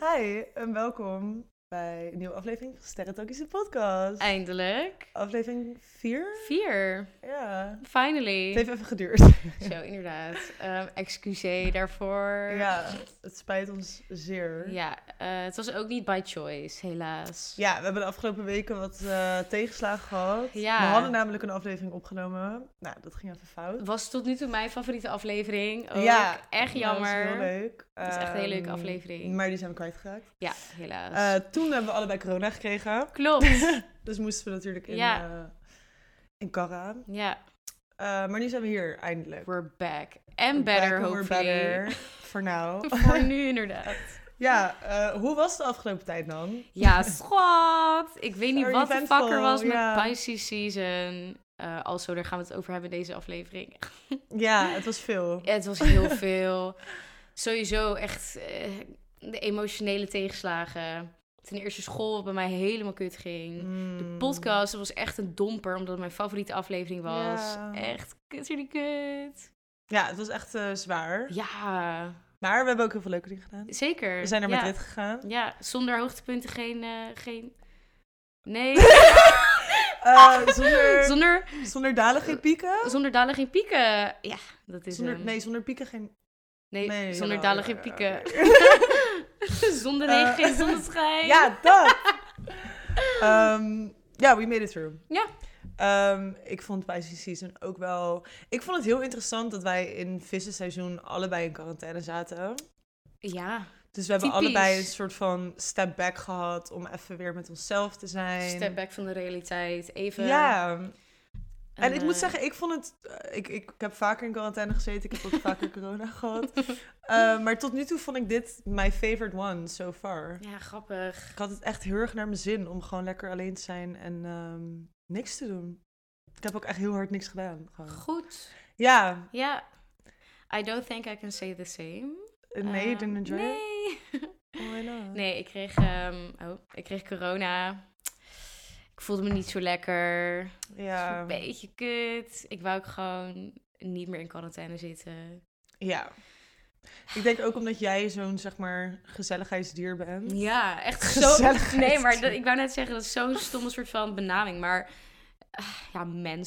Hi en welkom bij een nieuwe aflevering van Sterren Talkies, de podcast. Eindelijk. Aflevering 4? Vier. Ja. Finally. Het heeft even geduurd. Zo, inderdaad. Ehm excuseer daarvoor. Ja, het spijt ons zeer. Ja, eh, het was ook niet by choice, helaas. Ja, we hebben de afgelopen weken wat eh, tegenslagen gehad. Ja. We hadden namelijk een aflevering opgenomen. Nou, dat ging even fout. Was tot nu toe mijn favoriete aflevering. Ook. Ja, Echt Dat jammer. was heel leuk. Dat is echt een hele leuke Ehm, aflevering. Maar die zijn we kwijtgeraakt. Ja, helaas. Eh, toen hebben we allebei corona gekregen. Klopt. Dus moesten we natuurlijk in, Ja. eh, in Karra. ja, Eh, maar nu zijn we hier, eindelijk. we're back. And better, Back and we're hopefully. better. Voor nou. Voor nu inderdaad. Ja, eh, hoe was de afgelopen tijd dan? Ja, schat. Ik weet niet Very wat de eventful, fuck er was ja. met Pisces Season. Eh also, daar gaan we het over hebben in deze aflevering. Ja, het was veel. Ja, het was heel veel. Sowieso echt eh, de emotionele tegenslagen. Ten eerste school, wat bij mij helemaal kut ging. Mm. De podcast, dat was echt een domper, omdat het mijn favoriete aflevering was. Ja. Echt kutterdy kut. Ja, het was echt eh, zwaar. Ja, Maar we hebben ook heel veel leuke dingen gedaan. zeker. We zijn naar ja. Madrid gegaan. Ja, zonder hoogtepunten geen... eh, geen... Nee, Eh, zonder, zonder, zonder dalen geen pieken. zonder dalen geen pieken. Ja, dat is Zonder, hem. nee, zonder pieken geen... Nee, nee, zonder jawel, dalen ja, geen ja, pieken. zonder Eh, regen geen zonneschijn. Ja, dat! Ehm, ja, we made it through. Ja. Ehm, ik vond bij Season ook wel... Ik vond het heel interessant dat wij in vissenseizoen allebei in quarantaine zaten. ja. Dus we hebben Typisch. allebei een soort van step back gehad om even weer met onszelf te zijn. Step back van de realiteit. Even. Ja, een, en ik moet eh, zeggen, ik vond het. eh, Ik, ik, ik heb vaker in quarantaine gezeten, ik heb ook vaker corona gehad. Eh, maar tot nu toe vond ik dit my favorite one so far. Ja, grappig. Ik had het echt heel erg naar mijn zin om gewoon lekker alleen te zijn en ehm, niks te doen. Ik heb ook echt heel hard niks gedaan. gewoon. Goed. Ja, Ja. I don't think I can say the same. nee, Ehm, je didn't enjoy it? Nee. Oh, why not? nee, ik kreeg, ehm, oh, ik kreeg corona. Ik voelde me niet zo lekker. Het was Ja. Een beetje kut. Ik wou ook gewoon niet meer in quarantaine zitten. ja. Ik denk ook omdat jij zo'n, zeg maar, gezelligheidsdier bent. Ja, echt zo. Hm? Gezelligheid. Nee, maar dat, ik wou net zeggen, dat is zo'n stomme soort van benaming. Maar ah, ja,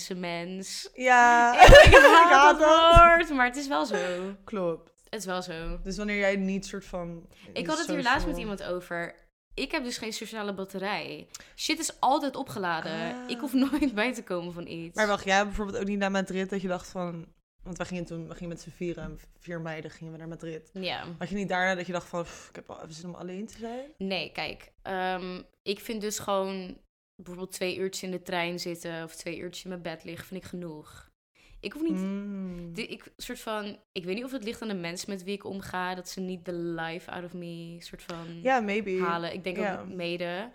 mensenmens. Ja, Ik haat Oh dat woord, maar het is wel zo. Klopt. Het is wel zo. Dus wanneer jij niet soort van... Ik had het hier social- laatst met iemand over. Ik heb dus geen sociale batterij. Shit is altijd opgeladen. Ah. Ik hoef nooit bij te komen van iets. Maar wacht, jij hebt bijvoorbeeld ook niet naar Madrid dat je dacht van... Want wij gingen toen, we gingen met z'n vieren, en vier meiden gingen we naar Madrid. Ja. Had je niet daarna dat je dacht van, "Pff, ik heb al even zin om alleen te zijn? Nee, kijk. ehm, ik vind dus gewoon bijvoorbeeld twee uurtjes in de trein zitten of twee uurtjes in mijn bed liggen, vind ik genoeg. Ik hoef niet. Mm. de- ik, soort van, ik weet niet of het ligt aan de mensen met wie ik omga, dat ze niet de life out of me soort van Ja, maybe. halen. Ik denk Ja. ook mede.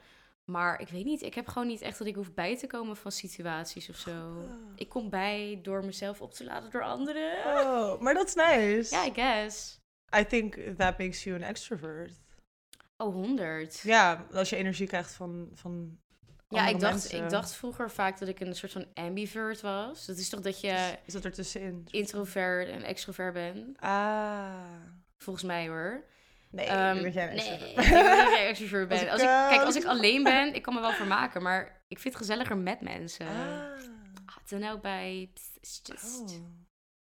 Maar ik weet niet, ik heb gewoon niet echt dat ik hoef bij te komen van situaties of zo. Ik kom bij door mezelf op te laden door anderen. Oh, maar dat is nice. Ja, I guess. I think that makes you an extrovert. Oh, 100. Ja, Ja, als je energie krijgt van, van andere ik, dacht, mensen. ik dacht vroeger vaak dat ik een soort van ambivert was. Dat is toch dat je Is dat er tussenin? introvert en extrovert bent? Ah. Volgens mij hoor. Nee, Ehm, ik denk dat jij een nee, extrovert ik bent. denk dat ik een extrovert Als ben. ik, Als ik, eh, kijk, als ik alleen ben, ik kan me wel vermaken. Maar ik vind het gezelliger met mensen. Ah. Ah, Dan ook bij... it's just- Oh.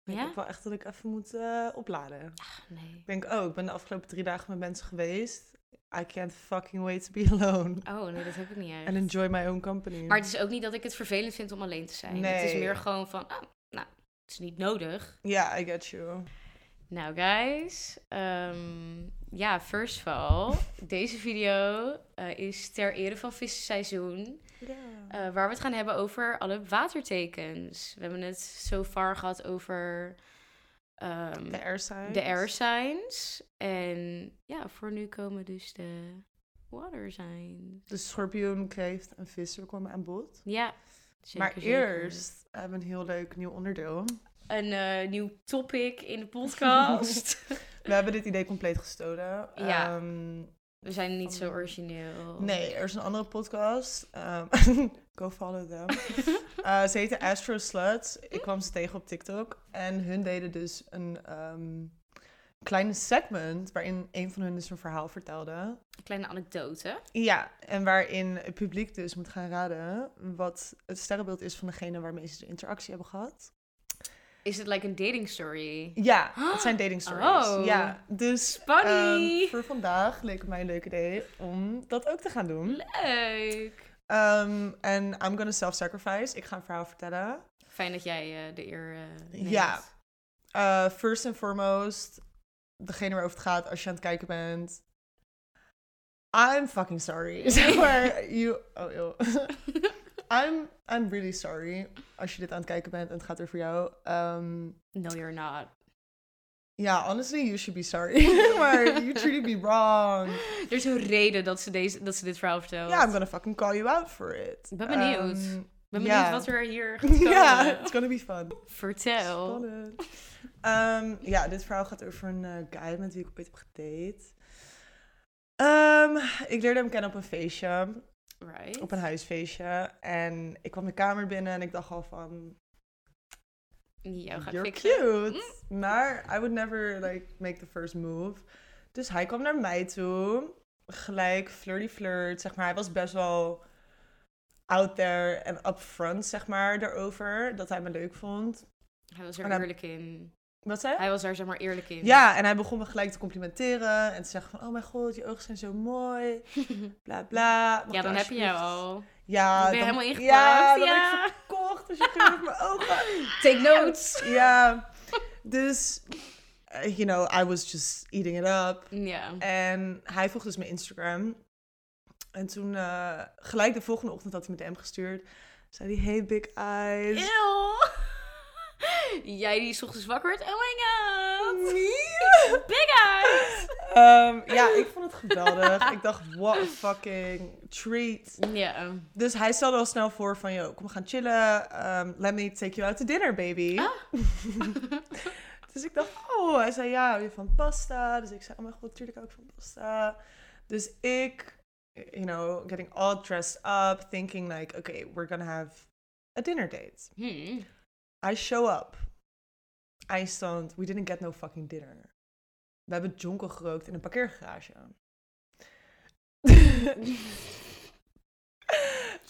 Ik Ja? heb wel echt dat ik even moet eh, opladen. Nee. Ik denk, oh, ik ben de afgelopen drie dagen met mensen geweest. I can't fucking wait to be alone. Oh, nee, dat heb ik niet echt. And enjoy my own company. Maar het is ook niet dat ik het vervelend vind om alleen te zijn. Het is Nee. meer gewoon van, oh, nou, het is niet nodig. Ja, I get you. Nou, guys. ehm, ja, first of all, deze video eh, is ter ere van vissenseizoen. Ja. eh, waar we het gaan hebben over alle watertekens. We hebben het zo far gehad over ehm, De air signs. de air signs. En ja, voor nu komen dus de water signs. De schorpioen, kreeft en vissen komen aan bod. Ja, zeker. maar zeker. eerst hebben we een heel leuk nieuw onderdeel. een eh, nieuw topic in de podcast. We hebben dit idee compleet gestolen. Ja. Ehm, We zijn niet zo origineel. Oh. Nee, er is een andere podcast. Ehm, go follow them. Eh, ze heette Mm. Astro Sluts. Ik kwam ze tegen op TikTok. En hun deden dus een ehm, kleine segment waarin een van hun dus een verhaal vertelde. Een kleine anekdote. Ja, en waarin het publiek dus moet gaan raden wat het sterrenbeeld is van degene waarmee ze de interactie hebben gehad. Is het like een dating story? Ja, het zijn dating stories. Oh. Ja, dus Funny! ehm, voor vandaag leek het mij een leuk idee om dat ook te gaan doen. Leuk! Ehm, En I'm gonna self-sacrifice. Ik ga een verhaal vertellen. Fijn dat jij eh, de eer eh, neemt. Ja. Eh, first and foremost, degene waarover het gaat als je aan het kijken bent. I'm fucking sorry. Zeg maar, you... Oh, joh. I'm, I'm really sorry als je dit aan het kijken bent en het gaat over jou. Ehm, No, you're not. Ja, honestly, you should be sorry. maar you truly be wrong. Er is een reden dat ze, deze, dat ze dit verhaal vertelt. Yeah, I'm gonna fucking call you out for it. Ik ben benieuwd. Um, ben benieuwd ja. wat er hier gaat komen. Ja, it's gonna be fun. Vertel. Spannend. Ehm, ja, dit verhaal gaat over een eh, guy met wie ik ooit heb gedate. Ehm, ik leerde hem kennen op een feestje, Right. op een huisfeestje. En ik kwam de kamer binnen en ik dacht al van, Jou ga ik you're fixen. Mm. cute. Maar I would never like make the first move. Dus hij kwam naar mij toe. Gelijk flirty flirt, zeg maar. Hij was best wel out there en upfront, zeg maar, daarover. Dat hij me leuk vond. Hij was er En hij- eerlijk in. Wat zei je? Hij was daar zeg maar eerlijk in. Ja, en hij begon me gelijk te complimenteren. En te zeggen van, oh mijn god, je ogen zijn zo mooi. Bla, bla. Mag ja, ik dan heb je jou alsjeblieft- al. Ja, ik ben dan- helemaal ingepraat. Ja, Ja, dan ben ik verkocht. Dus je geeft mijn ogen. Take notes. Ja, dus, eh, you know, I was just eating it up. Ja. En hij volgde dus mijn Instagram. En toen, eh, gelijk de volgende ochtend had hij me DM gestuurd. Zei hij, hey big eyes. Ew. Jij die 's ochtends wakker werd. Oh my god. Nee. Big eyes. Ehm, ja, ik vond het geweldig. ik dacht, what a fucking treat. Ja. Dus hij stelde al snel voor van, yo, kom we gaan chillen. Ehm, let me take you out to dinner, baby. dus ik dacht, oh, hij zei, ja, hou je van pasta? Dus ik zei, oh mijn god, tuurlijk hou ik van pasta. Dus ik, you know, getting all dressed up, thinking like, okay, we're gonna have a dinner date. Hm. I show up. Eindstand, we didn't get no fucking dinner. We hebben jonkel gerookt in een parkeergarage.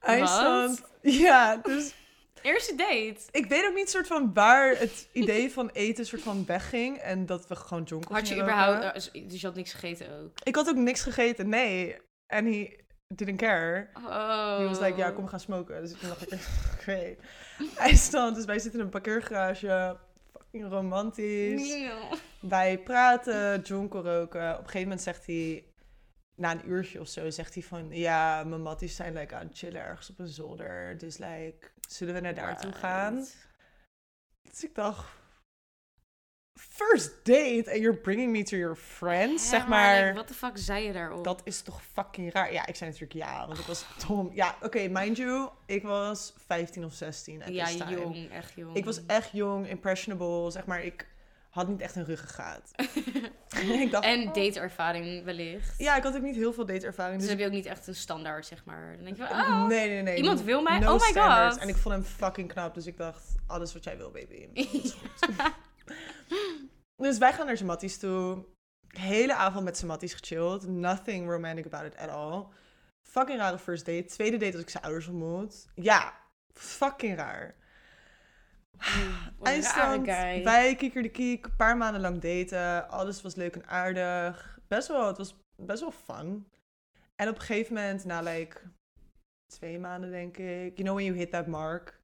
Eindstand, ja, dus Eerste date. ik weet ook niet soort van waar het idee van eten soort van wegging en dat we gewoon jonkel Had je gingen überhaupt... roken. eh, Dus je had niks gegeten ook. Ik had ook niks gegeten, nee. En hij didn't care. Oh. Hij was like, ja, kom we gaan smoken. Dus ik dacht, oké. Hij stond, dus wij zitten in een parkeergarage. Fucking romantisch. Ew. Wij praten, jonkel roken. Op een gegeven moment zegt hij, na een uurtje of zo, zegt hij van... Ja, mijn matties zijn like, aan het chillen ergens op een zolder. Dus like, zullen we naar daartoe Right. gaan? Dus ik dacht... First date and you're bringing me to your friends, Ja, zeg maar. like, Wat de fuck zei je daarop? Dat is toch fucking raar. Ja, ik zei natuurlijk ja, want ik was dom. Ja, oké, mind you, ik was 15 of 16 at ja, this time. jong. Echt jong. Ik was echt jong, impressionable, zeg maar. Ik had niet echt een ruggengraat. ik dacht, En oh. dateervaring wellicht. Ja, ik had ook niet heel veel dateervaring. Dus Dus heb je ook niet echt een standaard, zeg maar. Dan denk je van, oh. Nee, nee, nee. Iemand wil mij? No Oh my standards. god. En ik vond hem fucking knap, dus ik dacht, alles wat jij wil, baby. Dat is oh. goed. dus wij gaan naar zijn matties toe. Hele avond met zijn matties gechilled. Nothing romantic about it at all. Fucking rare first date. Tweede date als ik zijn ouders ontmoet. Ja, fucking raar. Wat een rare Eindstand, guy. wij kieker de kiek, een paar maanden lang daten. Alles was leuk en aardig. Best wel, het was best wel fun. En op een gegeven moment, na like twee maanden denk ik, you know when you hit that mark,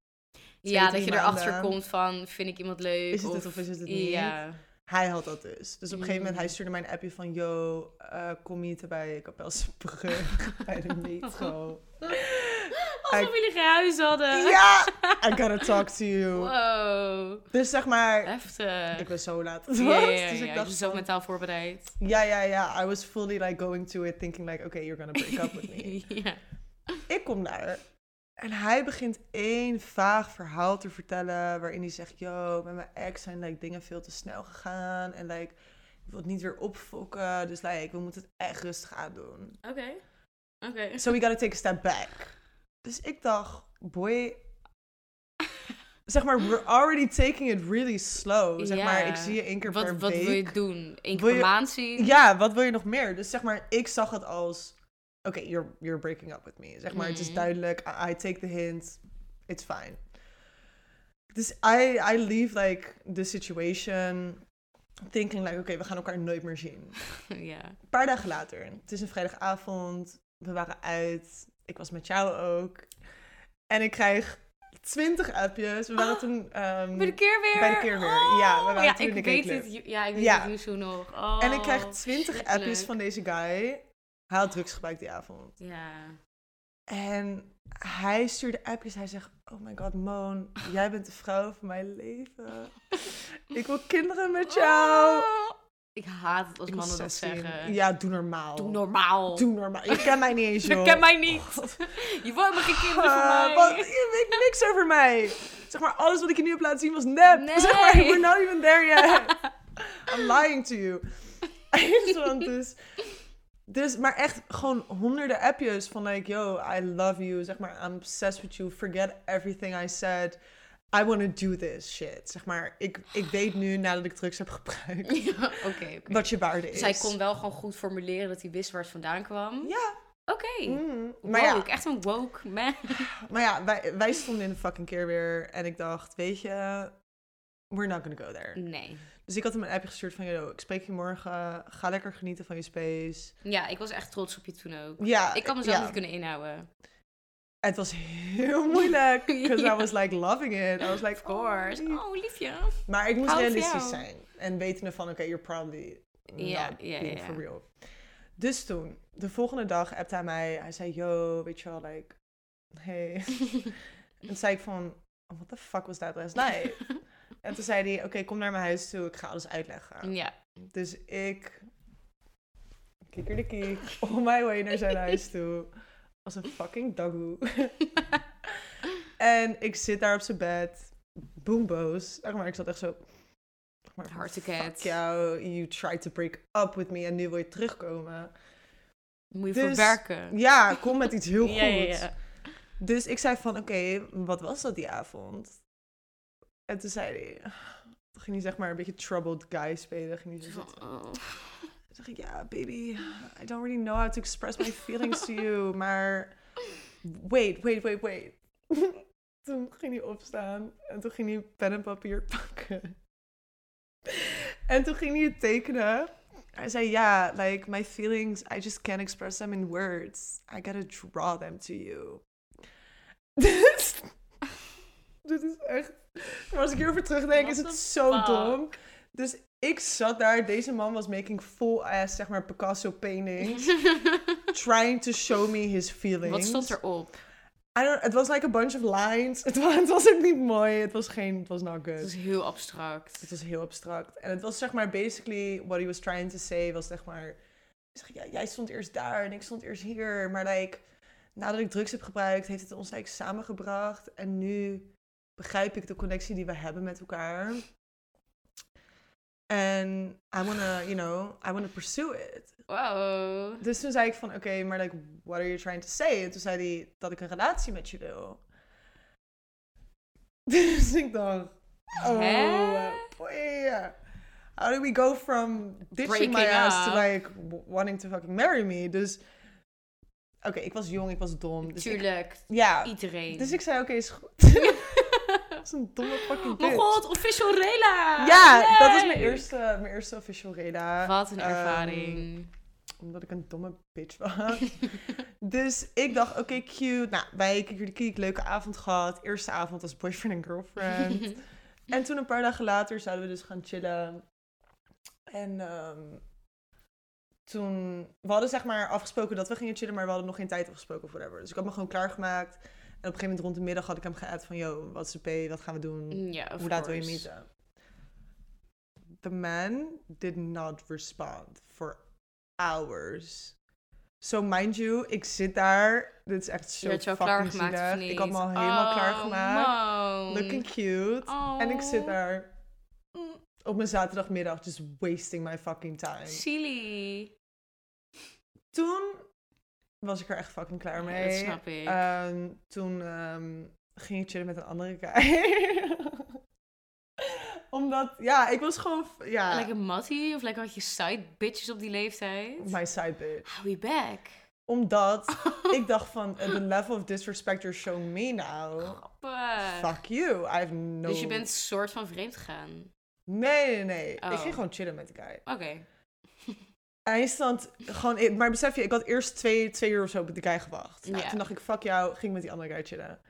twee, Ja, dat drie je erachter maanden. komt van, vind ik iemand leuk? is het het of is het het niet? Ja. Hij had dat dus. Dus op een gegeven moment, Mm. hij stuurde mij een appje van, yo, eh, kom hier te bij Kapelse Brug, bij de metro. Alsof jullie geen huis hadden. Ja, I gotta talk to you. Wow. Dus zeg maar, Heftig. ik was zo laat. Ja, ja, ja, dus ik ja, dacht je zelf van- mentaal voorbereid. Ja, ja, ja. I was fully like going to it thinking like, okay, you're gonna break up with me. ja. ik kom daar en hij begint één vaag verhaal te vertellen waarin hij zegt, yo, met mijn ex zijn like dingen veel te snel gegaan en like, ik wil het niet weer opfokken, dus like, we moeten het echt rustig aandoen. Oké. Oké. So we gotta take a step back. Dus ik dacht, boy, zeg maar, we're already taking it really slow. Zeg Ja. maar, ik zie je één keer per Wat, wat week. wil je doen? Eén keer Wil per je- maand zien? Ja, wat wil je nog meer? Dus zeg maar, ik zag het als... Oké, you're, you're breaking up with me. Zeg maar, het is Mhm. duidelijk. I, I take the hint. It's fine. Dus I, I leave, like, the situation... Thinking, like, oké, we gaan elkaar nooit meer zien. ja. Een paar dagen later. Het is een vrijdagavond. We waren uit. Ik was met jou ook. En ik krijg 20 appjes. We waren Oh, toen... ehm, Bij de keer weer? Oh, Bij de keer weer. Ja, we waren ja, toen in ik de weet gayclub. het. Ja, ik weet Ja. het nu zo nog. Oh, en ik krijg 20 appjes schrikkelijk. van deze guy. Hij had drugs gebruikt die avond. Ja. En hij stuurde appjes. Hij zegt: Oh my god, Moon, jij bent de vrouw van mijn leven. Ik wil kinderen met jou. Oh. Ik haat het als Ik was mannen dat 16. zeggen. Ja, doe normaal. Doe normaal. Doe normaal. Je kent mij niet eens, joh. Je kent mij niet. Je wil helemaal geen kinderen van Ah, mij. wat, je weet niks over mij. Zeg maar, alles wat ik je nu heb laten zien was nep. Nee. Zeg maar, we're not even there yet. I'm lying to you. Eindstand dus. Dus, maar echt gewoon honderden appjes van like, yo, I love you. Zeg maar, I'm obsessed with you. Forget everything I said. I want to do this shit. Zeg maar, ik, ik weet nu nadat ik drugs heb gebruikt Ja, Oké, oké. wat je waarde is. Dus hij kon wel gewoon goed formuleren dat hij wist waar het vandaan kwam. Ja. Oké. mm, Maar maar ja, woke, echt een woke man. Maar ja, wij, wij stonden in de fucking keer weer. En ik dacht, weet je, we're not gonna go there. Nee. Dus ik had hem een appje gestuurd van, yo, ik spreek je morgen. Ga lekker genieten van je space. Ja, ik was echt trots op je toen ook. Ja, Ik kan mezelf ja. niet kunnen inhouden. Het was heel moeilijk. Because Ja. I was like loving it. I was like, Of course. oh. Oh, liefje. Maar ik moest Hou van realistisch jou. zijn. En wetende van, oké, you're probably Ja, not ja, being ja. for real. Dus toen, de volgende dag appte hij mij. Hij zei, yo, weet je wel, like, hey. en toen zei ik van, "Oh, what the fuck was that last night? en toen zei hij, oké, kom naar mijn huis toe. Ik ga alles uitleggen. Ja. Dus ik, kikker de kiek, on my way naar zijn huis toe. Als een fucking dagoe. en ik zit daar op zijn bed, boomboos. Zeg maar, ik zat echt zo... zeg Maar, Hard to fuck get. jou, you tried to break up with me en nu wil je terugkomen. Moet je Dus- verwerken. Ja, kom met iets heel goeds. Ja, ja, ja. Dus ik zei van, oké, wat was dat die avond? En toen zei hij... Toen ging hij zeg maar een beetje troubled guy spelen. Ging hij zo zitten. Oh. Toen zeg ik, ja, baby, I don't really know how to express my feelings to you, maar wait, wait, wait, wait. toen ging hij opstaan en toen ging hij pen en papier pakken. en toen ging hij het tekenen. Hij zei, ja, like, my feelings, I just can't express them in words. I gotta draw them to you. Dus, dit is echt... Maar als ik hierover terugdenk, What is het the zo fuck? dom. Dus ik zat daar, deze man was making full ass, zeg maar, Picasso paintings. trying to show me his feelings. Wat stond erop? I don't, het was like a bunch of lines. Het was, het was ook niet mooi. Het was geen, het was not Het good. is heel abstract. Het was heel abstract. En het was zeg maar, basically, what he was trying to say was zeg maar... ik Zeg, ja, jij stond eerst daar en ik stond eerst hier. Maar like, nadat ik drugs heb gebruikt, heeft het ons like, samengebracht. En nu begrijp ik de connectie die we hebben met elkaar. En I wanna, you know, I wanna pursue it. Wow. Dus toen zei ik van, oké, maar like, what are you trying to say? En toen zei hij dat ik een relatie met je wil. Dus ik dacht, oh, Hè? boy. How do we go from ditching my Breaking ass to up. like w- wanting to fucking marry me? Dus, oké, ik was jong, ik was dom. Dus ik- Tuurlijk. ja, Iedereen. dus ik zei, oké, is goed. dat is een domme fucking Mijn bitch. Oh god, official Rela! Ja, dat was Yay! mijn eerste, mijn eerste official reda. Wat een Ehm, ervaring. omdat ik een domme bitch was. dus ik dacht, oké, cute. Nou, wij kikker de kiek, leuke avond gehad. Eerste avond als boyfriend en girlfriend. en toen een paar dagen later zouden we dus gaan chillen. En ehm, toen... We hadden zeg maar afgesproken dat we gingen chillen, maar we hadden nog geen tijd afgesproken of whatever. Dus ik had me gewoon klaargemaakt. En op een gegeven moment rond de middag had ik hem geappt van... Yo, wat is de P? Wat gaan we doen? ja, of Hoe laat wil je course. meeten? The man did not respond for hours. So mind you, ik zit daar. Dit is echt zo Je had je al fucking klaargemaakt of zielig. niet? Ik had me al helemaal oh, klaargemaakt. man. Looking cute. Oh. En ik zit daar op mijn zaterdagmiddag just wasting my fucking time. Silly. Toen was ik er echt fucking klaar mee. eh, Dat snap ik. Ehm, toen ehm, ging ik chillen met een andere guy. Omdat, ja, ik was gewoon, ja, Lekker mattie of lekker had je side bitches op die leeftijd. my side bitch. How we back. Omdat ik dacht van, eh, the level of disrespect you're showing me now. Grappig. Fuck you, I have no... Oh, Dus je bent soort van vreemd gegaan. Nee, nee, nee. Oh. Ik ging gewoon chillen met de guy. Oké. Eindstand, gewoon, ik- maar besef je, ik had eerst twee, twee uur of zo op de guy gewacht. Nou, Ja. Toen dacht ik, fuck jou, ging met die andere guy chillen.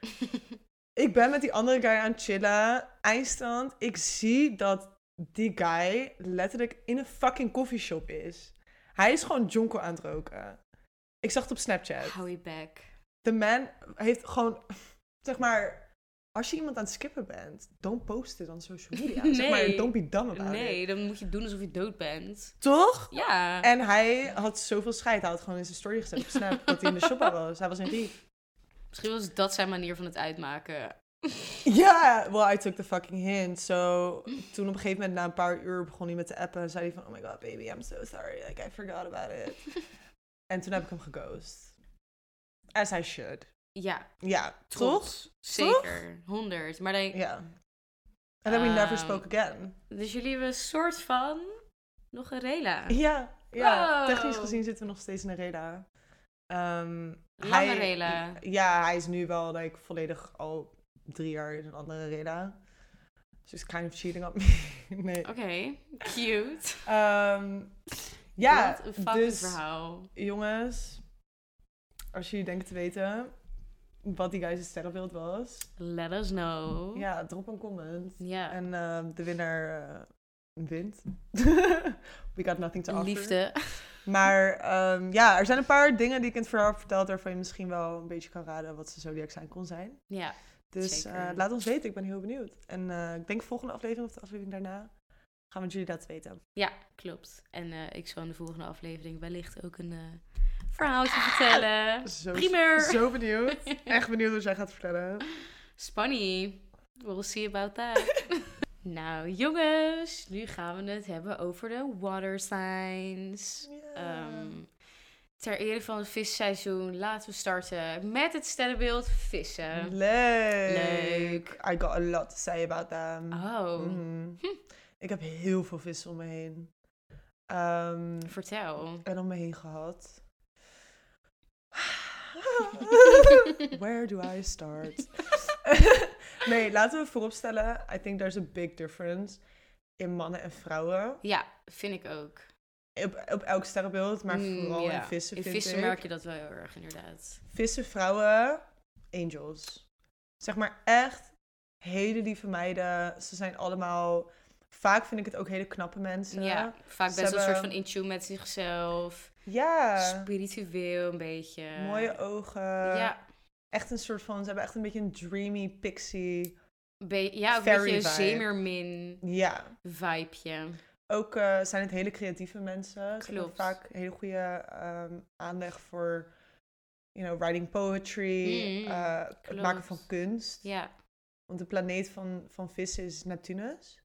ik ben met die andere guy aan het chillen. Eindstand, ik zie dat die guy letterlijk in een fucking koffieshop is. Hij is gewoon jonko aan het roken. Ik zag het op Snapchat. How we back. De man heeft gewoon, zeg maar, als je iemand aan het skippen bent, don't post it on social media. Zeg maar, Nee. don't be dumb about it. Nee, dan moet je doen alsof je dood bent. Toch? Ja. En hij had zoveel scheid. Hij had gewoon in zijn story gezet op Snap dat hij in de shop was. Hij was in Riet. Misschien was dat zijn manier van het uitmaken. Ja, well, I took the fucking hint. So, toen op een gegeven moment, na een paar uur, begon hij met te appen. En zei hij van, oh my god, baby, I'm so sorry. Like, I forgot about it. En toen heb ik hem geghost. As I should. Ja, Ja, toch? trots. Zeker. 100. Maar dan, Ja. And then we never Ehm. spoke again. Dus jullie hebben een soort van nog een rela. Ja, ja. Wow. technisch gezien zitten we nog steeds in een rela. Ehm, Lange hij- rela. Ja, hij is nu wel like, volledig al drie jaar in een andere rela. Dus is kind of cheating op me. nee. Oké, cute. Ehm, ja, Wat een fucking dus verhaal. jongens, als jullie denken te weten wat die guy's sterrenbeeld was, Let us know. ja, drop een comment. Oh. Ja. En ehm, de winnaar eh, wint. We got nothing to offer. Liefde. Maar ehm, ja, er zijn een paar dingen die ik in het verhaal heb verteld waarvan je misschien wel een beetje kan raden wat ze zodiac zijn kon zijn. Ja. Dus Zeker. eh, laat ons weten, ik ben heel benieuwd. En eh, ik denk volgende aflevering of de aflevering daarna gaan we jullie laten weten. ja, klopt. En eh, ik zal in de volgende aflevering wellicht ook een eh, verhaaltje vertellen. Zo, Primeur. zo benieuwd. Echt benieuwd wat jij gaat vertellen. Spanny. We'll see about that. nou, jongens. Nu gaan we het hebben over de water signs. Ja. Ehm, ter ere van het visseizoen laten we starten met het sterrenbeeld vissen. Mm-hmm. Leuk. eh, leuk. I got a lot to say about them. Oh, Mhm. Ik heb heel veel vissen om me heen. Ehm, vertel. en om me heen gehad. Where do I start? nee, laten we vooropstellen. I think there's a big difference in mannen en vrouwen. ja, vind ik ook. Op, op elk sterrenbeeld, maar Mm, vooral ja. in vissen In vind vissen ik. merk je dat wel heel erg, inderdaad. Vissen, vrouwen, angels. Zeg maar echt hele lieve meiden. Ze zijn allemaal... Vaak vind ik het ook hele knappe mensen. ja, vaak ze best wel een soort van hebben- in tune met zichzelf. Ja. eh, Spiritueel een beetje. Mooie ogen. Ja, Echt een soort van... Ze hebben echt een beetje een dreamy pixie. be- ja ook een Fairy beetje een vibe. zeemermin Ja. vibeje. Ook eh, zijn het hele creatieve mensen. Ze hebben Klopt. vaak hele goede ehm, aandacht voor you know, writing poetry, Mm, eh, het klopt. maken van kunst. Ja, Want de planeet van, van vissen is Neptunus.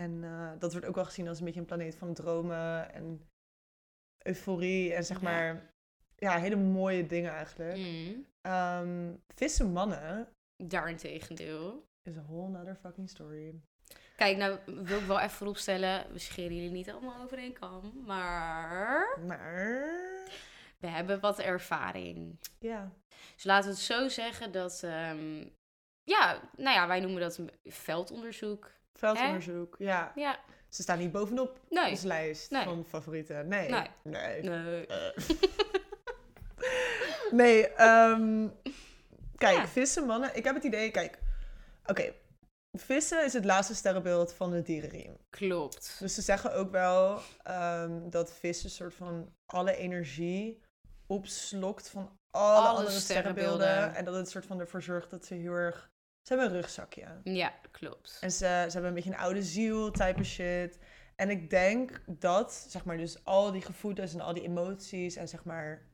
En eh, dat wordt ook wel gezien als een beetje een planeet van dromen en euforie en zeg Ja. maar ja, hele mooie dingen eigenlijk. mm. Ehm, vissen mannen daarentegendeel. is a whole nother fucking story. Kijk, nou wil ik wel even vooropstellen, we scheren jullie niet allemaal over één kam, maar Maar we hebben wat ervaring. ja, Dus laten we het zo zeggen dat, ehm, ja, nou ja, wij noemen dat een veldonderzoek. veldonderzoek. Ja, Ja, ze staan niet bovenop nee, onze lijst Nee. van favorieten. Nee. Nee. Nee. Eh. Nee. nee. ehm, kijk, Ja. vissen, mannen. Ik heb het idee, kijk. Oké. Vissen is het laatste sterrenbeeld van de dierenriem. Klopt. Dus ze zeggen ook wel ehm, dat vissen soort van alle energie opslokt van alle, Alle andere sterrenbeelden. sterrenbeelden. En dat het soort van ervoor zorgt dat ze heel erg... Ze hebben een rugzakje. Ja, klopt. En ze, ze hebben een beetje een oude ziel type shit. En ik denk dat, zeg maar, dus al die gevoelens en al die emoties en zeg maar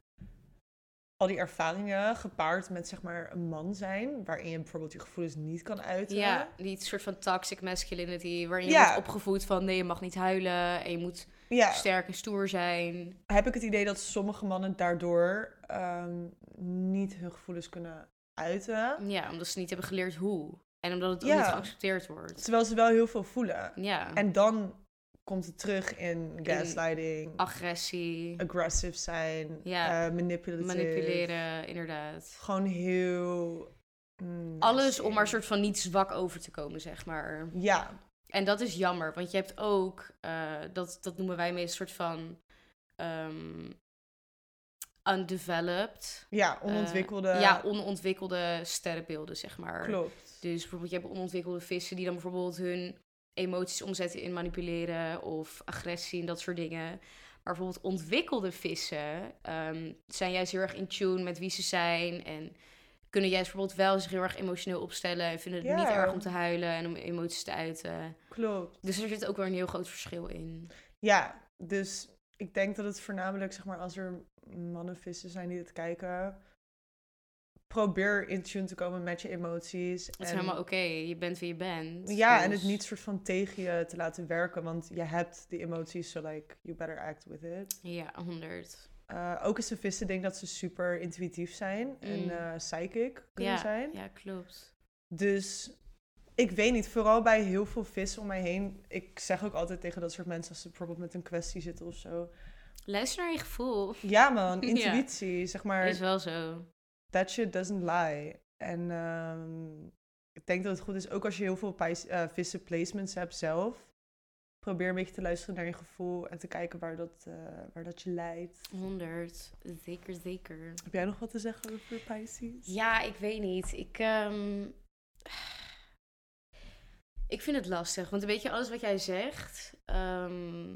al die ervaringen gepaard met zeg maar een man zijn, waarin je bijvoorbeeld je gevoelens niet kan uiten. Ja, die soort van toxic masculinity, waarin je eh? Ja. wordt opgevoed van nee, je mag niet huilen en je moet Ja, sterk en stoer zijn. heb ik het idee dat sommige mannen daardoor ehm, niet hun gevoelens kunnen uiten. Ja, omdat ze niet hebben geleerd hoe. En omdat het ook Ja. niet geaccepteerd wordt. Terwijl ze wel heel veel voelen. Ja. En dan komt het terug in gaslighting, Agressie, aggressive zijn, Ja. eh, manipulatief. manipuleren, inderdaad. Gewoon heel... mm, Alles nasty. om maar soort van niet zwak over te komen, zeg maar. Ja, En dat is jammer, want je hebt ook, eh, dat, dat noemen wij meest soort van ehm, undeveloped. ja onontwikkelde... eh, ja, onontwikkelde sterrenbeelden, zeg maar. klopt. Dus bijvoorbeeld, je hebt onontwikkelde vissen die dan bijvoorbeeld hun emoties omzetten in manipuleren of agressie en dat soort dingen. Maar bijvoorbeeld ontwikkelde vissen ehm, zijn juist heel erg in tune met wie ze zijn en kunnen juist bijvoorbeeld wel zich heel erg emotioneel opstellen en vinden het niet Ja. erg om te huilen en om emoties te uiten. Klopt. Dus er zit ook wel een heel groot verschil in. Ja, dus ik denk dat het voornamelijk, zeg maar, als er mannenvissen zijn die het kijken... Probeer in tune te komen met je emoties. Het is en- helemaal oké, je bent wie je bent. Ja, en dus- het niet soort van tegen je te laten werken, want je hebt die emoties, so like, you better act with it. Ja, 100. Eh, ook is de vissen denk dat ze super intuïtief zijn en Mm. eh, psychic kunnen zijn. Ja, klopt. Dus ik weet niet, vooral bij heel veel vissen om mij heen. Ik zeg ook altijd tegen dat soort mensen als ze bijvoorbeeld met een kwestie zitten of zo. Luister naar je gevoel. Ja man, Ja. intuïtie, zeg maar. Is wel zo. That shit doesn't lie. En ehm, ik denk dat het goed is, ook als je heel veel pijs- eh, vissen placements hebt zelf. Probeer een beetje te luisteren naar je gevoel en te kijken waar dat, eh, waar dat je leidt. 100. Zeker, zeker. Heb jij nog wat te zeggen over Pisces? Ja, ik weet niet. Ik, ehm, ik vind het lastig, want een beetje alles wat jij zegt. ehm,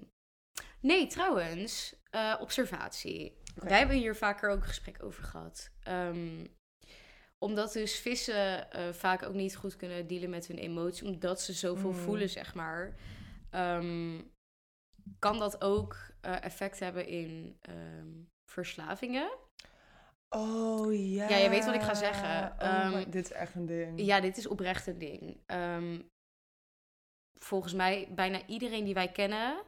Nee, trouwens, eh, observatie. Oké. Wij hebben hier vaker ook een gesprek over gehad. Ehm, omdat dus vissen eh, vaak ook niet goed kunnen dealen met hun emoties, omdat ze zoveel Mm. voelen, zeg maar. ehm, kan dat ook eh, effect hebben in ehm, verslavingen? Oh ja. Ja, je weet wat ik ga zeggen. Oh, my- Ehm, dit is echt een ding. Ja, dit is oprecht een ding. Ehm, volgens mij, bijna iedereen die wij kennen,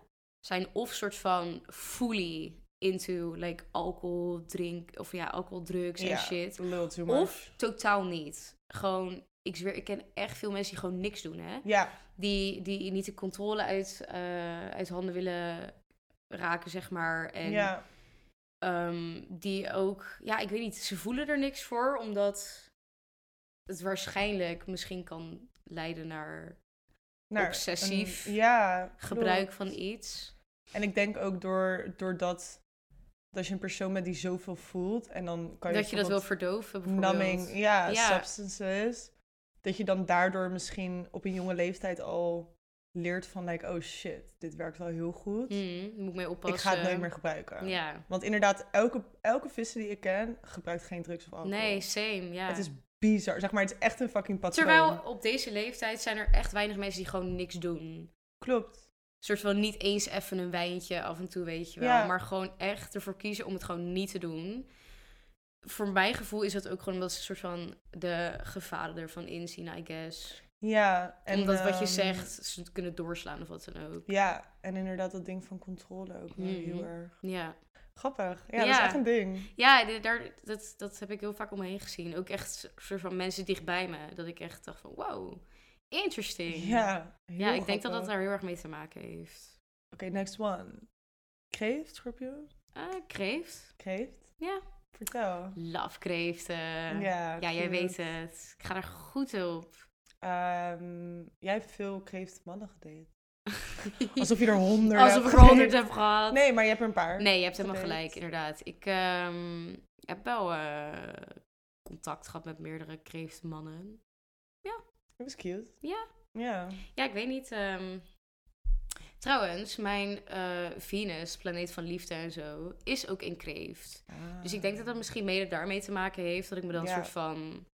zijn of soort van fully into like alcohol, drink, of ja, alcohol, drugs Ja, en shit. a little too much. Of totaal niet. Gewoon, ik zweer, ik ken echt veel mensen die gewoon niks doen, hè. Ja, Die, die niet de controle uit, eh, uit handen willen raken, zeg maar. En ja. Ehm, die ook, ja, ik weet niet, ze voelen er niks voor, omdat het waarschijnlijk misschien kan leiden naar Naar obsessief een- ja, gebruik klopt. van iets. En ik denk ook door, doordat dat je een persoon bent die zoveel voelt en dan kan je dat je dat wil bijvoorbeeld- verdoven, bijvoorbeeld. numbing, ja, Ja. substances. Dat je dan daardoor misschien op een jonge leeftijd al leert van, like, oh shit, dit werkt wel heel goed. Hmm, moet ik mee oppassen. ik ga het nooit meer gebruiken. Ja. Want inderdaad, elke, elke visser die ik ken gebruikt geen drugs of alcohol. Nee, same, ja. Oh, Het is bizar. Zeg maar, het is echt een fucking patroon. Terwijl op deze leeftijd zijn er echt weinig mensen die gewoon niks doen. Klopt. Een soort van niet eens even een wijntje af en toe, weet je wel. Ja. Maar gewoon echt ervoor kiezen om het gewoon niet te doen. Voor mijn gevoel is dat ook gewoon omdat ze een soort van de gevaren ervan inzien, I guess. Ja. En omdat wat je ehm, zegt, ze het kunnen doorslaan of wat dan ook. Ja, en inderdaad dat ding van controle ook wel Mhm. heel erg. Ja, Grappig. Ja, dat is Ja. echt een ding. ja dit- daar, dat, dat heb ik heel vaak om me heen gezien. Ook echt een soort van mensen dichtbij me. Dat ik echt dacht van, wow, interesting. Ja, heel ja ik denk dat dat grappig. daar heel erg mee te maken heeft. Oké, next one. Kreeft, Scorpio? Ah, kreeft. Kreeft? Ja. Vertel. Love kreeften. Ja, Ja, jij cute. weet het. Ik ga er goed op. Ehm, jij hebt veel kreeftmannen gedate. Alsof je er honderd Alsof ik er honderd heb gehad. Nee, Nee, maar je hebt er een paar. je hebt helemaal Gedate. gelijk, inderdaad. Ik ehm, heb wel eh, contact gehad met meerdere kreeftmannen. Dat was cute. Ja. Ja. Ja, ik weet niet. ehm, Trouwens, mijn eh, Venus, planeet van liefde en zo, is ook in kreeft. Dus ik denk dat dat misschien mede daarmee te maken heeft. Dat ik me dan Ja. een soort van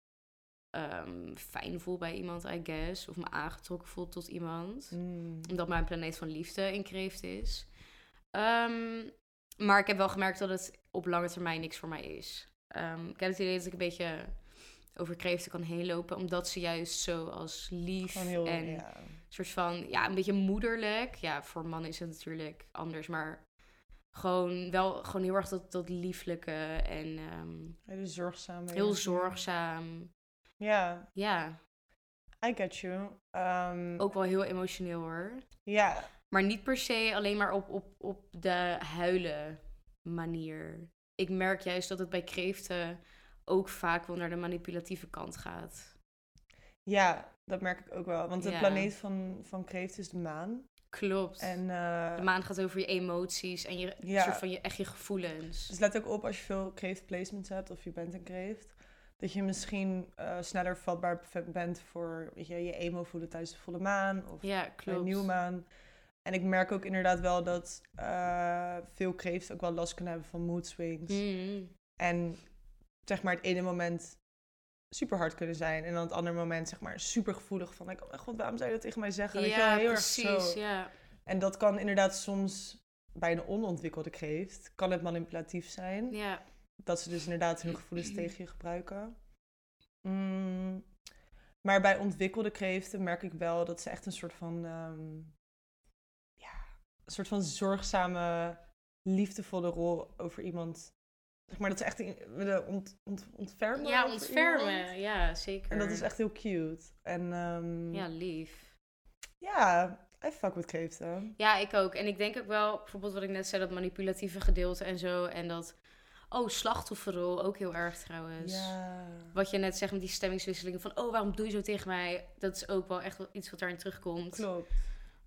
ehm, fijn voel bij iemand, I guess. Of me aangetrokken voel tot iemand. Mm. omdat mijn planeet van liefde in kreeft is. Ehm, maar ik heb wel gemerkt dat het op lange termijn niks voor mij is. Ehm, ik heb het idee dat ik een beetje over kreeften kan heen lopen, omdat ze juist zo als lief Gewoon heel... en ja. soort van, ja, een beetje moederlijk. Ja, voor mannen is het natuurlijk anders, maar gewoon wel gewoon heel erg dat, dat lieflijke en ehm, Hele zorgzaam. heel zorgzaam. Ja, Ja, I get you. Ehm, ook wel heel emotioneel hoor. Ja, Maar niet per se alleen maar op, op, op de huilen manier. Ik merk juist dat het bij kreeften ook vaak wel naar de manipulatieve kant gaat. ja, dat merk ik ook wel. Want de Ja. planeet van, van kreeft is de maan. Klopt. En de eh, maan gaat over je emoties en je, Ja. soort van je, echt je gevoelens. dus let ook op als je veel kreeftplacements hebt of je bent een kreeft. Dat je misschien eh, sneller vatbaar v- bent voor weet je, je emo voelen tijdens de volle maan of Ja, bij een klopt. nieuwe maan. En ik merk ook inderdaad wel dat eh, veel kreeften ook wel last kunnen hebben van mood swings. Mm. En zeg maar het ene moment super hard kunnen zijn. En dan het andere moment zeg maar super gevoelig van... Like, oh mijn god, waarom zou je dat tegen mij zeggen? Weet je wel, Ja, eh, heel erg precies. zo. Ja. En dat kan inderdaad soms bij een onontwikkelde kreeft... kan het manipulatief zijn. ja, Dat ze dus inderdaad hun gevoelens tegen je gebruiken. Mm, Maar bij ontwikkelde kreeften merk ik wel dat ze echt een soort van... ehm, ja, een soort van zorgzame, liefdevolle rol over iemand... Zeg maar dat ze echt in- willen ont, ont, ontfermen. ja over iemand. ontfermen. Ja, zeker. En dat is echt heel cute. En ehm, Ja, ja, lief. I fuck with kreeften. Ja, ik ook. En ik denk ook wel, bijvoorbeeld wat ik net zei, dat manipulatieve gedeelte en zo. En dat, oh, slachtofferrol ook heel erg trouwens. Ja. Wat je net zegt met die stemmingswisselingen van, oh, waarom doe je zo tegen mij? Dat is ook wel echt wel iets wat daarin terugkomt. Klopt.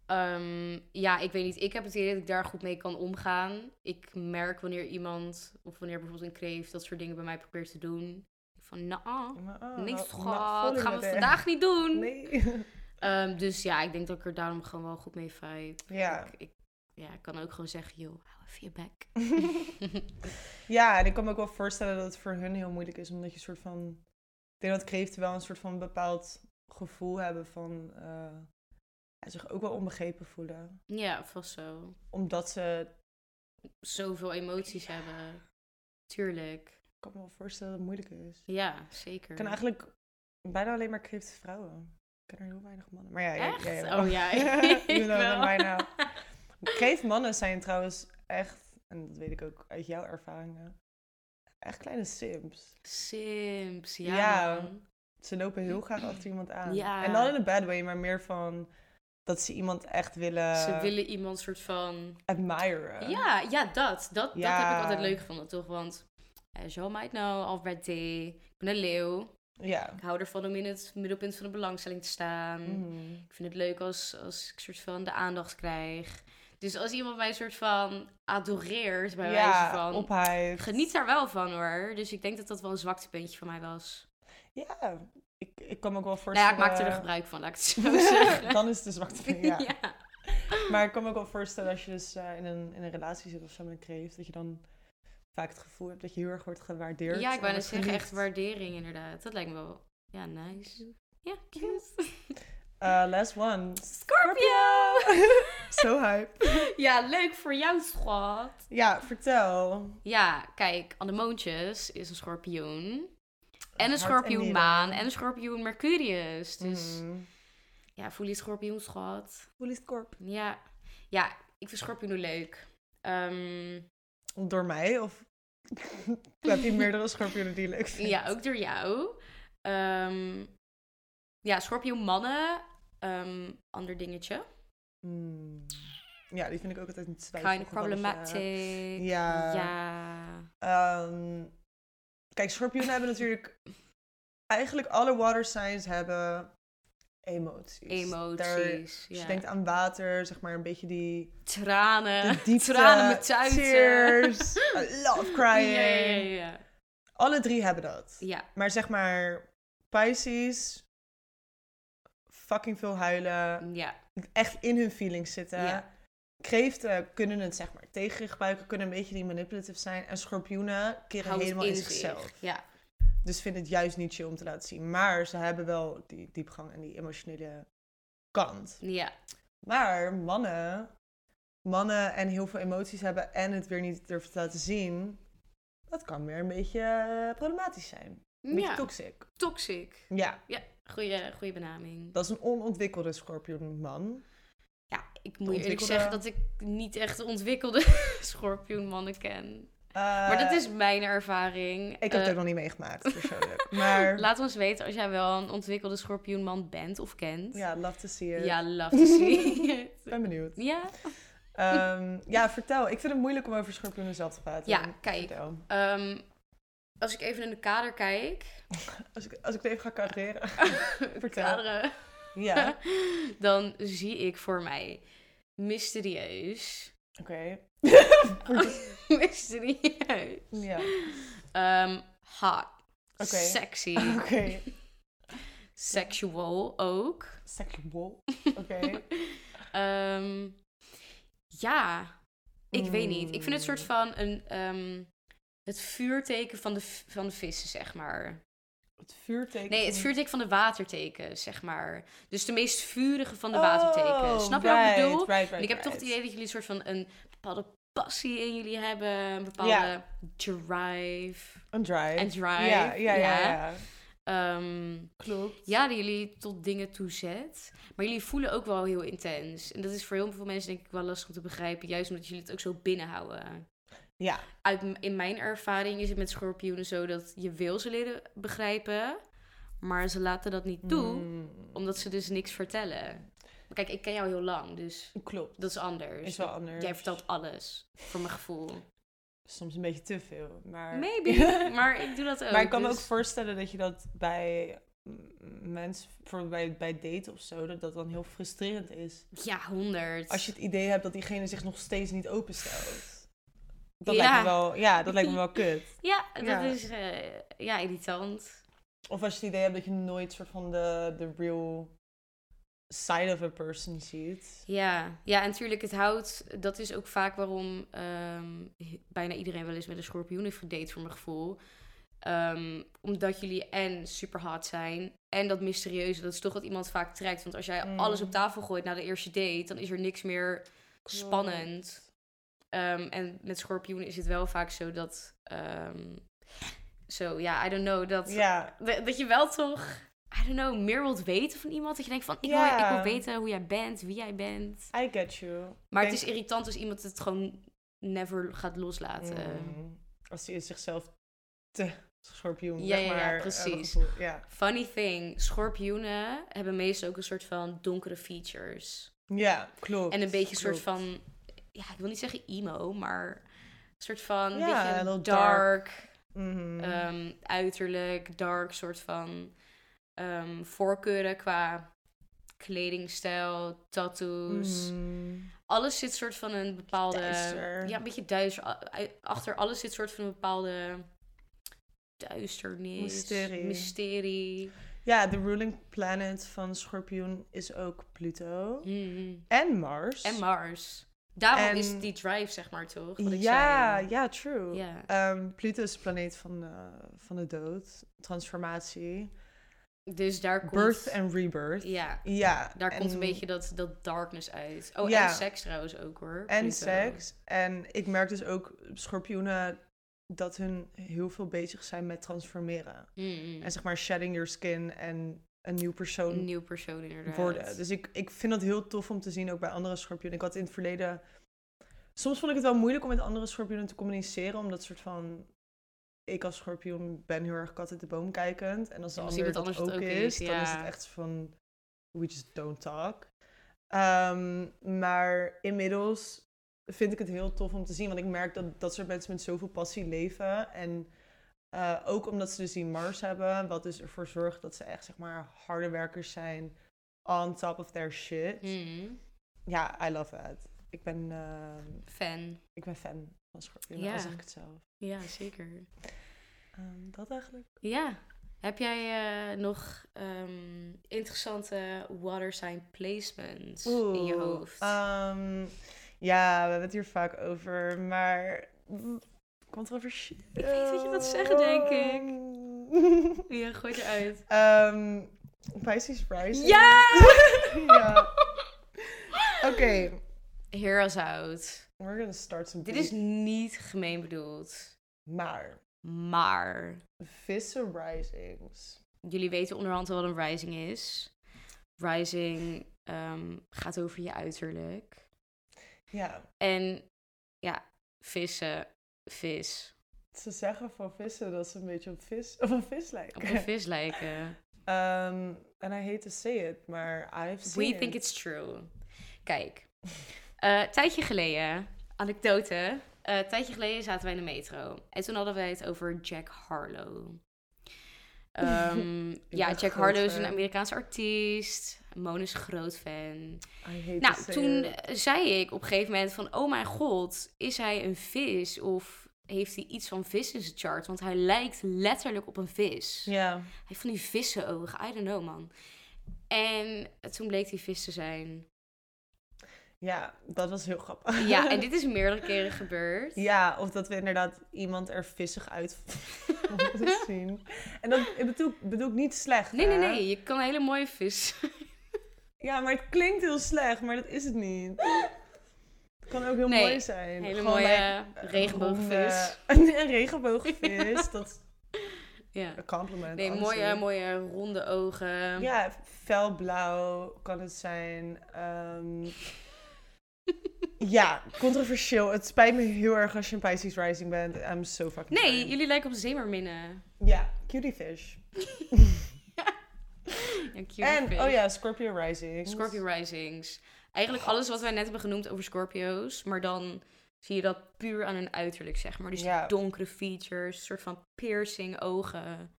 Ehm, ja, ik weet niet. Ik heb het idee dat ik daar goed mee kan omgaan. Ik merk wanneer iemand, of wanneer bijvoorbeeld een kreeft, dat soort dingen bij mij probeert te doen. Van, nou, Maar, ah, niks nou, nou, schat, voelen gaan we er. vandaag niet doen. Nee. Ehm, dus ja, ik denk dat ik er daarom gewoon wel goed mee vibe. ja. Ik, ik- ja, ik kan ook gewoon zeggen, joh, hou even je bek. Ja, en ik kan me ook wel voorstellen dat het voor hun heel moeilijk is, omdat je een soort van... Ik denk dat kreeften wel een soort van bepaald gevoel hebben van... eh, ja, zich ook wel onbegrepen voelen. ja, vast zo. Omdat ze... Ik Zoveel emoties hebben. Tuurlijk. kan me wel voorstellen dat het moeilijk is. Ja, zeker. Ik ken eigenlijk bijna alleen maar kreeften vrouwen. Ik ken er heel weinig mannen. Maar ja, ja, Echt? ja, ja. Oh ja, You ik know them wel. by now. Kreeftmannen zijn trouwens echt, en dat weet ik ook uit jouw ervaringen, echt kleine simps. Simps, ja. Ja. man. Ze lopen heel graag achter iemand aan. Ja. En dan in een bad way, maar meer van dat ze iemand echt willen, Ze willen iemand soort van... admiren. Ja, ja, dat. Dat, dat heb eh. Ja. ik altijd leuk gevonden, toch? Want, as you all might know, Albert D. Ik ben een leeuw. Ja. Ik hou ervan om in het middelpunt van de belangstelling te staan. Mhm. Ik vind het leuk als, als ik soort van de aandacht krijg. Dus als iemand mij soort van adoreert, bij wijze Ja, van... ophyped. Ik geniet daar wel van hoor. Dus ik denk dat dat wel een zwaktepuntje van mij was. Ja, ik, ik kan me ook wel Nou ja, voorstellen... ik maakte er gebruik van, laat ik het zo zeggen. Dan is het de zwakte punt, eh, ja. ja. Maar ik kan me ook wel voorstellen als je dus eh, in, een, in een relatie zit of zo met een kreeft, dat je dan vaak het gevoel hebt dat je heel erg wordt gewaardeerd. Ja, ik en wou net wordt zeggen, echt geliefd. waardering inderdaad. Dat lijkt me wel, ja, nice. Ja, cute. Eh, last one. Scorpio! Zo hype. ja, leuk voor jou, schat. Ja, vertel. Ja, kijk, Anemoontjes is een schorpioen. En een Hart en schorpioen nieren. maan en een schorpioen Mercurius. Dus Mm. ja, voel je schorpioen, schat. Hoe is het korp? Ja, ja ik vind schorpioenen leuk. Ehm, Door mij? Of heb je meerdere schorpioenen die je leuk vindt? ja, ook door jou. Ehm, ja, schorpioen mannen. ehm, ander dingetje. Mm. Ja, die vind ik ook altijd niet zwijgen. Kind of problematic. Ja. Ja. Ehm, kijk, schorpioenen hebben natuurlijk... Eigenlijk alle water signs hebben emoties. Daar- Emoties. als Dus je ja. denkt aan water, zeg maar een beetje die, tranen. de diepte. tranen met tuiten. Tears, I love Ja, crying. ja, ja, ja. Alle drie hebben dat. Ja, Maar zeg maar, Pisces, fucking veel huilen, ja. echt in hun feelings zitten. Ja. Kreeften kunnen het zeg maar tegen je gebruiken, kunnen een beetje die manipulative zijn. En schorpioenen keren Houdt helemaal in zich. zichzelf. Ja, Dus vinden het juist niet chill om te laten zien. Maar ze hebben wel die diepgang en die emotionele kant. ja, Maar mannen, mannen en heel veel emoties hebben en het weer niet durven te laten zien, dat kan weer een beetje eh, problematisch zijn. Een beetje ja. toxic. toxic. Ja, Goeie, goeie benaming. dat eh, is een onontwikkelde schorpioenman. Ja, ik moet je eerlijk Ontwikkelde- zeggen dat ik niet echt ontwikkelde schorpioenmannen ken. maar Eh, dat is mijn ervaring. Ik heb Eh, het ook nog niet meegemaakt, persoonlijk. maar Laat ons weten als jij wel een ontwikkelde schorpioenman bent of kent. ja, love to see it. Ja, love to see it. Ik ben benieuwd. ja. Ehm, ja, vertel. Ik vind het moeilijk om over schorpioenen zelf te praten. Ja, kijk. Vertel. Ehm, als ik even in de kader kijk. Als ik, als ik het even ga carreren. Vertel. Kaderen. ja, Dan zie ik voor mij mysterieus. oké. mysterieus. Ja, Ehm, hot. Oké. Sexy. oké. Sexual ook. Sexual. Oké. Ehm, ja, ik weet niet. Ik vind het soort Mm. van een, ehm, het vuurteken van de, v- van de vissen, zeg maar. Het vuurteken. Nee, het van- vuurteken van de waterteken, zeg maar. Dus de meest vurige van de waterteken. Oh, Snap je wat ik right, bedoel? right, right, En ik heb toch het right. idee dat jullie een soort van een bepaalde passie in jullie hebben. Een bepaalde Ja. drive. Een drive. En drive. Ja, ja, ja. ja. Ehm, Klopt. ja, die jullie tot dingen toezet. Maar jullie voelen ook wel heel intens. En dat is voor heel veel mensen denk ik wel lastig om te begrijpen. Juist omdat jullie het ook zo binnenhouden. Ja. Uit, m- in mijn ervaring is het met schorpioenen zo dat je wil ze leren begrijpen. Maar ze laten dat niet toe. Mm, Omdat ze dus niks vertellen. Maar kijk, ik ken jou heel lang. Dus Klopt. dat is anders. Is wel anders. Dus Jij vertelt alles. Voor mijn gevoel. Soms een beetje te veel. Maar... Maybe. maar ik doe dat ook. maar ik kan me dus- ook voorstellen dat je dat bij mm, mensen, bijvoorbeeld bij, bij daten of zo, dat dat dan heel frustrerend is. Ja, honderd. Als je het idee hebt dat diegene zich nog steeds niet openstelt. Dat Ja. lijkt me wel, ja, dat lijkt me wel kut. Ja, dat Ja. is eh, ja, irritant. Of als je het idee hebt dat je nooit soort van de, de real side of a person ziet. Ja, ja, en natuurlijk het hout, dat is ook vaak waarom ehm, he- bijna iedereen wel eens met een schorpioen heeft gedate, voor mijn gevoel. Ehm, omdat jullie en super hard zijn en dat mysterieuze, dat is toch wat iemand vaak trekt. Want als jij Mm. alles op tafel gooit na de eerste date, dan is er niks meer spannend. Ehm, en met schorpioen is het wel vaak zo dat, ehm, zo ja, I don't know, dat, Ja, dat dat je wel toch, I don't know, meer wilt weten van iemand. Dat je denkt van, ik, wil, ik Ja. wil weten hoe jij bent, wie jij bent. I get you. Maar Denk- het is irritant als iemand het gewoon never gaat loslaten. Mm, als hij zichzelf te schorpioen, eh, Ja, zeg ja, ja, maar. eh, precies. gevoel- Ja, Funny thing, schorpioenen hebben meestal ook een soort van donkere features. ja klopt. En een beetje een klopt. soort van, ja, ik wil niet zeggen emo, maar een soort van Ja, beetje a little dark, Mhm. ehm, uiterlijk, dark soort van ehm, voorkeuren qua kledingstijl, tattoos. Mhm. alles zit soort van een bepaalde. Duister. Ja, een beetje duister. A- u- Achter alles zit soort van een bepaalde duisternis. Mysterie. mysterie. Ja, de ruling planet van Schorpioen is ook Pluto. Mm. En Mars. En Mars. Daarom En- is die drive, zeg maar, toch? Wat ik ja, zei. ja, true. Ja. Ehm, Pluto is de planeet van, eh, van de dood, transformatie, Dus daar komt. birth and rebirth. Ja, Ja, daar komt en- een beetje dat, dat darkness uit. Oh, Ja. en seks trouwens ook hoor. En Pluto. seks. En ik merk dus ook schorpioenen dat hun heel veel bezig zijn met transformeren. Mm. En zeg maar shedding your skin en een nieuw persoon Een nieuw persoon inderdaad. worden. Dus ik, ik vind dat heel tof om te zien, ook bij andere schorpioenen. Ik had in het verleden... Soms vond ik het wel moeilijk om met andere schorpioenen te communiceren, omdat soort van... Ik als schorpioen ben heel erg kat in de boom kijkend. En als de En als ander iemand dat anders ook, het ook is, is, dan ja. is het echt van... We just don't talk. Ehm, maar inmiddels vind ik het heel tof om te zien. Want ik merk dat dat soort mensen met zoveel passie leven. En eh, ook omdat ze dus die Mars hebben. Wat dus ervoor zorgt dat ze echt, zeg maar, harde werkers zijn. On top of their shit. Mm. Ja, I love that. Ik ben, ehm, Fan. ik ben fan van Schorpioen. Ja. Al zeg ik het zelf. Ja, zeker. Ehm, dat eigenlijk. Ja. Heb jij eh, nog ehm, interessante water sign placements in je Oeh, hoofd? ehm, ja, we hebben het hier vaak over, maar mm, controversieel. Ik weet dat je dat zeggen, denk ik. ja, gooi het eruit. Ehm Pisces Rising. Ja! Ja. Oké, Hear us out. we're gonna start some Dit is beef. niet gemeen bedoeld. Maar, Maar vissen Risings. jullie weten onderhand wel wat een rising is. Rising ehm, gaat over je uiterlijk. Ja, En ja, vissen, vis, ze zeggen van vissen dat ze een beetje op, vis, of op vis op lijken. een vis lijken. Ehm, and I hate to say it, maar I've seen We it. think it's true. Kijk, eh, tijdje geleden, anekdote. Eh, tijdje geleden zaten wij in de metro. En toen hadden wij het over Jack Harlow. Ehm, ja, ben Jack groot Harlow is een fan. Amerikaanse artiest. Moon is groot fan. I hate to Nou, say toen it. eh, zei ik op een gegeven moment van... Oh mijn god, is hij een vis? Of heeft hij iets van vis in zijn chart? Want hij lijkt letterlijk op een vis. Ja, Hij heeft van die vissenogen. I don't know, man. En toen bleek die vis te zijn. ja, dat was heel grappig. Ja, en dit is meerdere keren gebeurd. Ja, of dat we inderdaad iemand er vissig uit vonden zien. En dat ik bedoel, bedoel ik niet slecht. Nee, nee, hè? nee. Je kan een hele mooie vis. Ja, maar het klinkt heel slecht, maar dat is het niet. Het kan ook heel Nee, mooi zijn. Een hele Gewoon like, mooie eh, regenboogvis. ronde- Een regenboogvis, dat is Ja. een compliment. Nee, honestly. mooie, mooie ronde ogen. Ja, felblauw kan het zijn. ehm, ja, controversieel. Het spijt me heel erg als je een Pisces Rising bent. I'm so fucking Nee, sorry. jullie lijken op zeemerminnen. Ja, cutie fish. Ja, cute en, vis. oh ja, Scorpio Rising. Scorpio Risings. Eigenlijk alles wat wij net hebben genoemd over Scorpio's. Maar dan zie je dat puur aan hun uiterlijk, zeg maar. Dus die Ja. donkere features, soort van piercing ogen.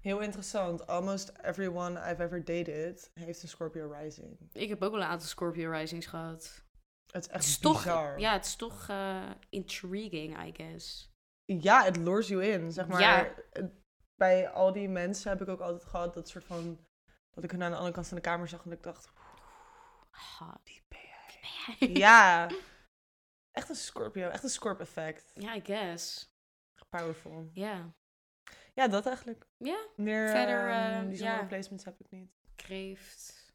Heel interessant. Almost everyone I've ever dated heeft een Scorpio Rising. Ik heb ook wel een aantal Scorpio Risings gehad. Het is Het echt is toch, bizar. ja, het is toch eh, intriguing, I guess. Ja, het lures you in, zeg maar. Ja. Bij al die mensen heb ik ook altijd gehad dat soort van... Dat ik hun aan de andere kant van de kamer zag en dat ik dacht... Hot. Die ben jij. Ja. Echt een Scorpio. Echt een Scorp effect. Ja, I guess. Powerful. Ja. Ja, dat eigenlijk. Ja, Meer ehm, Verder, Verder, eh, bijzondere ja. placements heb ik niet. Kreeft.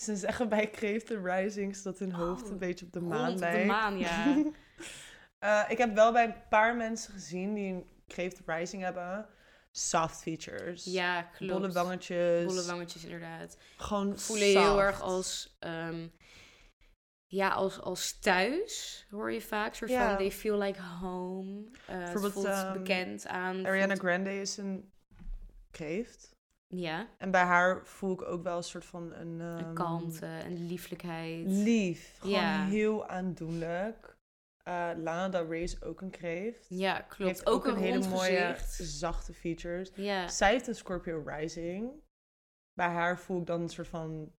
Ze zeggen bij kreeften risings dat hun hoofd Oh, een beetje op de rond maan op de lijkt. maan, ja. Eh, ik heb wel bij een paar mensen gezien die een kreeft rising hebben. Soft features. Ja, klopt. Bolle wangetjes. Bolle wangetjes, inderdaad. Gewoon Voelen je heel soft. erg als... ehm, ja, als, als thuis hoor je vaak. soort Ja. van, they feel like home. Eh het Bijvoorbeeld, voelt ehm, bekend aan. het Ariana voelt- Grande is een kreeft. Ja, En bij haar voel ik ook wel een soort van een... een ehm, kalmte, een lieflijkheid. Lief. Gewoon Ja. heel aandoenlijk. Eh, Lana Del Rey is ook een kreeft. ja, klopt. Heeft Ook, een, hele rond mooie gezicht. zachte features. Ja, Zij heeft een Scorpio Rising. Bij haar voel ik dan een soort van...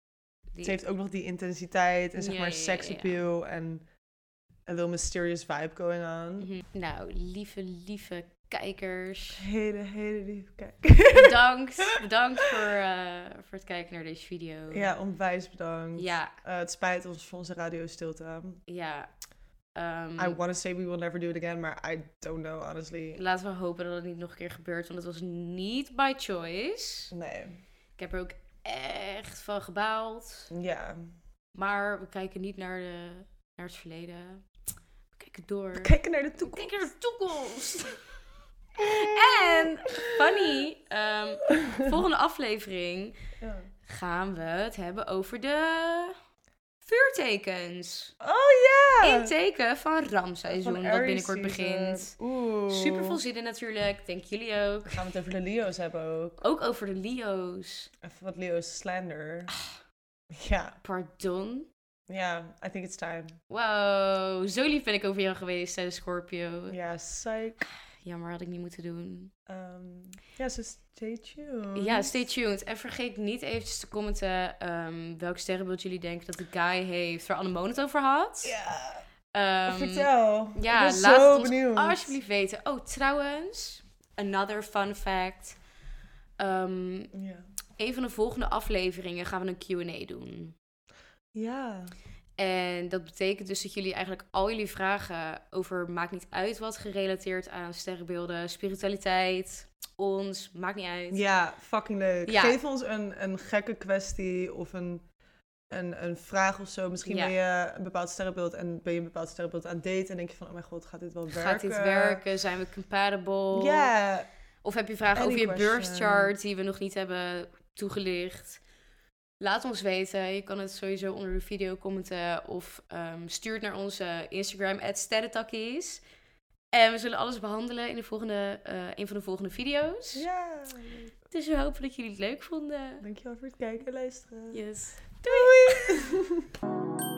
die- Ze heeft ook nog die intensiteit en zeg Ja, maar ja, ja, sex ja. appeal en a little mysterious vibe going on. Mhm. Nou, lieve, lieve kijkers. Hele, hele lief. Kijk. Bedankt. bedankt voor, eh, voor het kijken naar deze video. Ja, onwijs bedankt. Ja, Eh, het spijt ons voor onze radiostilte. ja. Ehm, I want to say we will never do it again, maar I don't know, honestly. Laten we hopen dat het niet nog een keer gebeurt, want het was niet by choice. Nee. Ik heb er ook echt van gebaald. Ja. Mm. Maar we kijken niet naar, de, naar het verleden. We kijken door. We kijken naar de We toekomst. kijken naar de toekomst. en, funny, ehm, volgende aflevering Ja. gaan we het hebben over de vuurtekens. Oh ja! In teken van ramseizoen, Van dat Aries binnenkort season. begint. Oeh. Super veel zin in natuurlijk, denk jullie ook. Gaan we het over de Leo's hebben ook. Ook over de Leo's. Even wat Leo's slander. Ah. Ja, Pardon. ja, I think it's time. Wow, zo lief ben ik over jou geweest, zei de Scorpio. Ja, psych. Jammer, had ik niet moeten doen. Ehm, ja, so stay tuned. Ja, stay tuned. En vergeet niet eventjes te commenten ehm, welk sterrenbeeld jullie denken dat de guy heeft waar Annemone het over had. Ja, Ehm, vertel. Ja, ik ben laat zo het ons benieuwd. alsjeblieft weten. Oh, trouwens, another fun fact. Ehm, Ja. een van de volgende afleveringen gaan we een Q&A doen. ja, En dat betekent dus dat jullie eigenlijk al jullie vragen over maakt niet uit wat gerelateerd aan sterrenbeelden, spiritualiteit, ons, maakt niet uit. ja, fucking leuk. Ja. Geef ons een, een gekke kwestie of een, een, een vraag of zo. Misschien Ja. ben je een bepaald sterrenbeeld en ben je een bepaald sterrenbeeld aan het daten. En denk je van, oh mijn god, gaat dit wel werken? Gaat dit werken? Zijn we compatible? Ja, Of heb je vragen Any over je question. birth chart die we nog niet hebben toegelicht? Laat ons weten. Je kan het sowieso onder de video commenten. Of ehm stuur het naar onze Instagram, sterretakkies. En we zullen alles behandelen in de volgende, eh, een van de volgende video's. Ja. Dus we hopen dat jullie het leuk vonden. Dankjewel voor het kijken en luisteren. Yes. Doei.